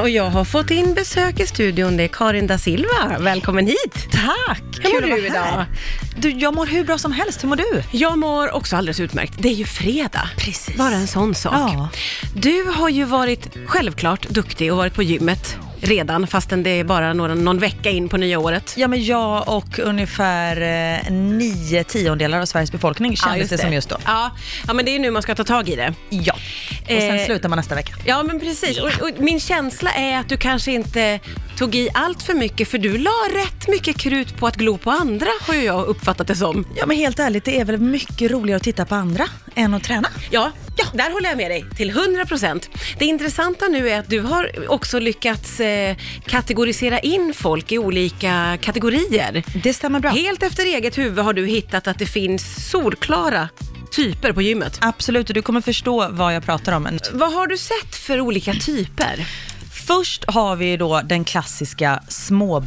Och jag har fått in besök i studion. Det är Karin da Silva. Välkommen hit! Tack! Hur mår Kul att du vara idag? här. Du, jag mår hur bra som helst. Hur mår du? Jag mår också alldeles utmärkt. Det är ju fredag. Precis. Bara en sån sak. Ja. Du har ju varit självklart duktig och varit på gymmet redan, fastän det är bara några, någon vecka in på nya året. Ja, men jag och ungefär eh, nio tiondelar av Sveriges befolkning kändes det. som just då. Ja. ja, men det är nu man ska ta tag i det. Ja. Och sen Eh, slutar man nästa vecka. Ja, men precis. Och, och min känsla är att du kanske inte tog i allt för mycket, för du la rätt mycket krut på att glo på andra, har ju jag uppfattat det som. Ja, men helt ärligt, det är väl mycket roligare att titta på andra än att träna. Ja, där håller jag med dig till 100 procent. Det intressanta nu är att du har också lyckats eh, kategorisera in folk i olika kategorier. Det stämmer bra. Helt efter eget huvud har du hittat att det finns solklara typer på gymmet. Absolut, och du kommer förstå vad jag pratar om. Vad har du sett för olika typer? Först har vi då den klassiska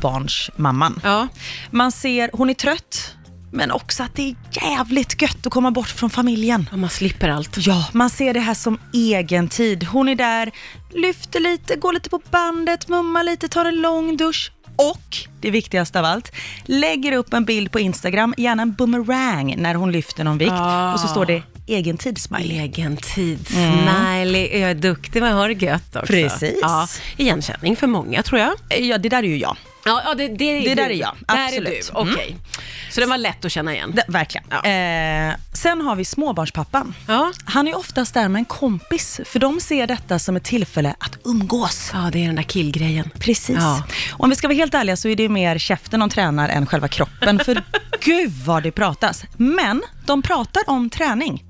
småbarnsmamman. Ja. Man ser, hon är trött, men också att det är jävligt gött att komma bort från familjen. ja, man slipper allt. Ja, man ser det här som egen tid. Hon är där, lyfter lite, går lite på bandet, mummar lite, tar en lång dusch. Och, det viktigaste av allt, lägger upp en bild på Instagram, gärna en boomerang när hon lyfter någon vikt. Ah. Och så står det egen tid smiley. Egen tid, smiley, jag är duktig men jag har det gött också. Precis. Ja, igenkänning för många tror jag. Eh, Ja, det där är ju jag. Ja, ja det, det, är Det där du. är jag, Där är du, absolut. okej. Så den var lätt att känna igen. Det, verkligen. Ja. Eh, sen har vi småbarnspappan. Ja. Han är oftast där med en kompis, för de ser detta som ett tillfälle att umgås. Ja, det är den där killgrejen. Precis. Ja. Och om vi ska vara helt ärliga så är det ju mer käften de tränar än själva kroppen. För gud vad det pratas. Men de pratar om träning.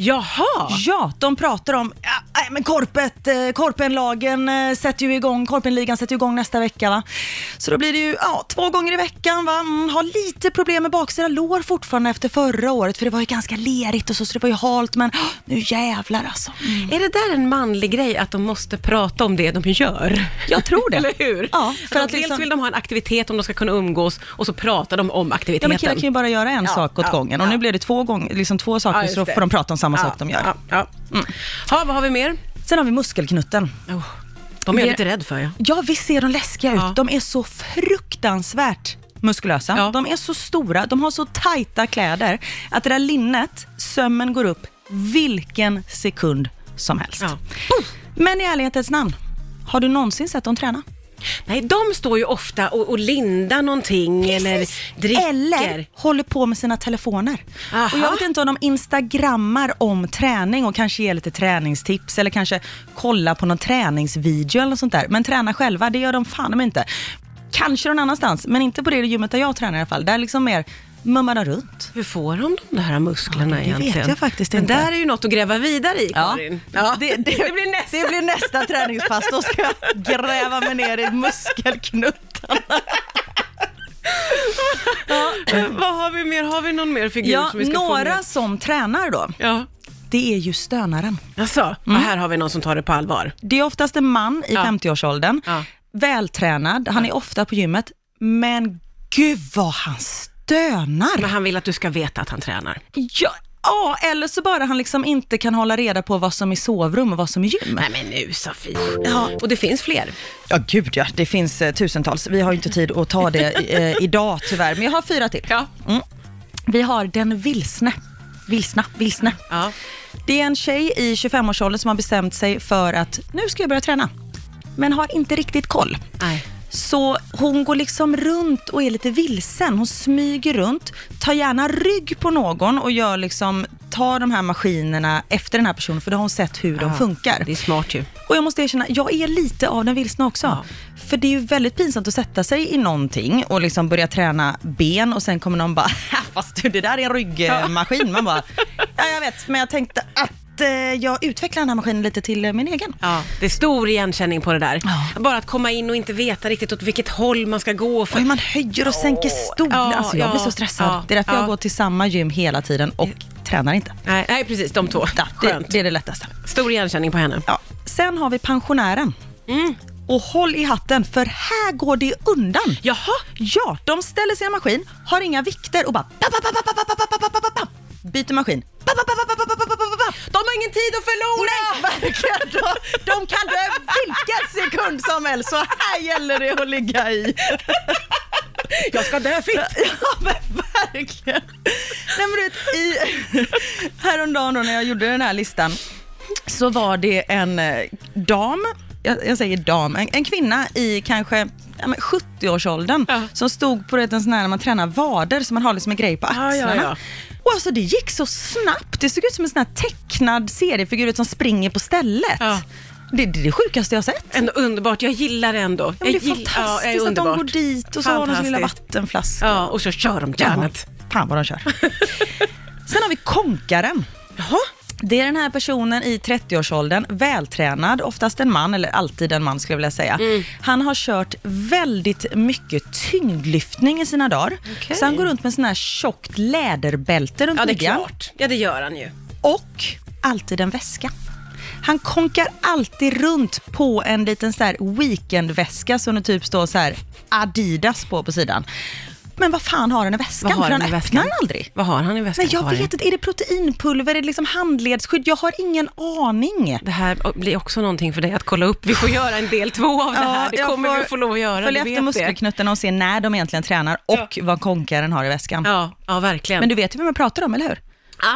Jaha! Ja, de pratar om ja, nej, men korpet, eh, korpenlagen eh, sätter ju igång, korpenligan sätter ju igång nästa vecka. Va? Så då blir det ju ja, två gånger i veckan. Va? Mm, har lite problem med baksida lår fortfarande efter förra året, för det var ju ganska lerigt och så, så det var ju halt, men åh, nu jävlar alltså. Mm. Är det där en manlig grej, att de måste prata om det de gör? Jag tror det. Eller hur? Ja, liksom- för att dels vill de ha en aktivitet om de ska kunna umgås, och så pratar de om Ja, aktiviteten. men killar kan ju bara göra en Ja, sak åt ja, gången och ja. nu blir det två, gång, liksom två saker Ja, just så det. får de prata om samma Ja, sak de gör. Mm. Oh, Ja, ja. Ha, vad har vi mer? Sen har vi muskelknutten. Oh, de är jag Det- lite rädd för. Ja. Ja, visst ser de läskiga ut. Ja. De är så fruktansvärt muskulösa. Ja. De är så stora, de har så tajta kläder att det där linnet, sömmen går upp vilken sekund som helst. Ja. Men i ärlighetens namn, har du någonsin sett dem träna? Nej, de står ju ofta och, och lindar någonting eller dricker. Eller håller på med sina telefoner. Aha. Och jag vet inte om de instagrammar om träning och kanske ger lite träningstips eller kanske kollar på någon träningsvideo eller något sånt där. Men träna själva, det gör de fan om inte. Kanske någon annanstans, men inte på det gymmet där jag tränar i alla fall. Där liksom mer mummar de runt. Hur får de de där musklerna vet egentligen? jag faktiskt Men inte. där är ju något att gräva vidare i, Karin. Det, det, blir nästa. det blir nästa träningspass. Då ska jag gräva mig ner i muskelknuttarna. Vad har vi mer? Har vi någon mer figur Ja, som vi ska få med? några som tränar då, Ja. det är ju stönaren. Alltså, och Mm. här har vi någon som tar det på allvar. Det är oftast en man i Ja. 50-årsåldern, Ja. vältränad, han är ofta på gymmet, men gud vad han stönar! Men han vill att du ska veta att han tränar. Ja, ja, eller så bara han liksom inte kan hålla reda på vad som är sovrum och vad som är gym. Nej men nu Sofie. Och det finns fler. Ja, gud ja, det finns eh, tusentals. Vi har ju inte tid att ta det eh, idag tyvärr, men jag har fyra till. Ja. Mm. Vi har den vilsne. Vilsna, vilsne. Ja. Det är en tjej i 25-årsåldern som har bestämt sig för att nu ska jag börja träna, men har inte riktigt koll. Nej. Så hon går liksom runt och är lite vilsen. Hon smyger runt, tar gärna rygg på någon och gör liksom, tar de här maskinerna efter den här personen, för då har hon sett hur de funkar. Det är smart ju. Och jag måste erkänna, jag är lite av den vilsna också. För det är ju väldigt pinsamt att sätta sig i någonting och liksom börja träna ben och sen kommer någon bara, "Ha, fast du det där är en ryggmaskin. Man bara, ja jag vet, men jag tänkte att eh, jag utvecklar den här maskinen lite till eh, min egen. Ja, det är stor igenkänning på det där. Ja. Bara att komma in och inte veta riktigt åt vilket håll man ska gå. För... Oj, man höjer och sänker stol. Ja, alltså, jag blir ja, så stressad. ja, det är därför ja. jag går till samma gym hela tiden och tränar inte. Nej, nej, precis, de två. Ja, det, Skönt. det är det lättaste. Stor igenkänning på henne. Ja. Sen har vi pensionären. Mm. Och håll i hatten, för här går det undan. Jaha, Ja, de ställer sig i en maskin, har inga vikter och bara... pa, pa, pa, pa, pa, pa, pa, pa, pa, pa, pa, pa. Byter maskin. Pa, pa, pa, pa, pa, pa, pa, pa, pa, pa, pa. de har ingen tid att förlora! Verkligen. De, de kan dö vilken sekund som helst, så här gäller det att ligga i. Jag ska dö fitt! Ja, men verkligen. Nej, men du vet, i, häromdagen då när jag gjorde den här listan så var det en eh, dam, jag, jag säger dam, en, en kvinna i kanske ja, men 70-årsåldern Ja. som stod på du vet, en sån här när man tränar vader så man har liksom en grej på Ja, axlarna. ja, ja. Och alltså det gick så snabbt, det såg ut som en sån här tecknad seriefigur du vet, som springer på stället. Ja. Det, det är det sjukaste jag har sett. Ändå underbart, jag gillar det ändå. Ja, men det jag är gill- ja, det fantastiskt är att de underbart. går dit och så har de sin lilla Fantastiskt. vattenflaska. Ja, och så kör de järnet. Fan vad de kör. Sen har vi konkaren. Jaha, Det är den här personen i 30-årsåldern, vältränad, oftast en man, eller alltid en man skulle jag vilja säga. Han har kört väldigt mycket tyngdlyftning i sina dagar. Okej. Så han går runt med sån här tjockt läderbälte runt ja det är midjan. klart. Ja det gör han ju. Och alltid en väska. Han konkar alltid runt på en liten så här weekendväska som det typ står så här Adidas på på sidan. Men vad fan har han i väskan? För han öppnar den aldrig. Vad har han i väskan Men jag Karin? vet inte, är det proteinpulver, är det liksom handledsskydd? Jag har ingen aning. Det här blir också någonting för dig att kolla upp. Vi får göra en del två av det här. Det jag kommer får vi få lov att göra. Följ du efter vet det. muskelknuttarna och se när de egentligen tränar och vad konkaren har i väskan. Ja, ja verkligen. Men du vet ju vem jag pratar om, eller hur?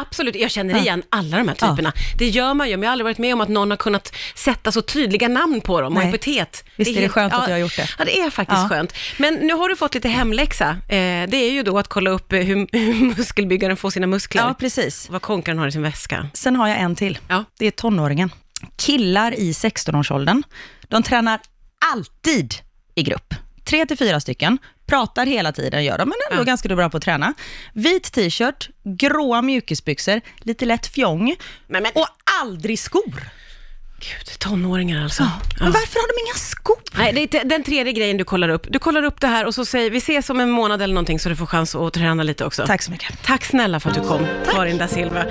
Absolut, jag känner igen alla de här typerna. Det gör man ju, men jag har aldrig varit med om att någon har kunnat sätta så tydliga namn på dem och Nej. epitet. Visst är det helt- skönt att ja, jag har gjort det? Ja, det är faktiskt Ja. skönt. Men nu har du fått lite hemläxa. Eh, det är ju då att kolla upp eh, hur, hur muskelbyggaren får sina muskler. Ja, precis. Vad konkaren har i sin väska. Sen har jag en till. Ja. Det är tonåringen. Killar i 16-årsåldern, de tränar alltid i grupp. Tre till fyra stycken, pratar hela tiden, gör de, men ändå Ja. ganska bra på att träna. Vit t-shirt, gråa mjukisbyxor, lite lätt fjong Men, men, och aldrig skor. gud, tonåringar alltså. Ja. Men varför har de inga skor? Nej, det är te- den tredje grejen du kollar upp. Du kollar upp det här och så säger vi ses om en månad eller någonting så du får chans att träna lite också. Tack så mycket. Tack snälla för att du kom, Karin da Silva.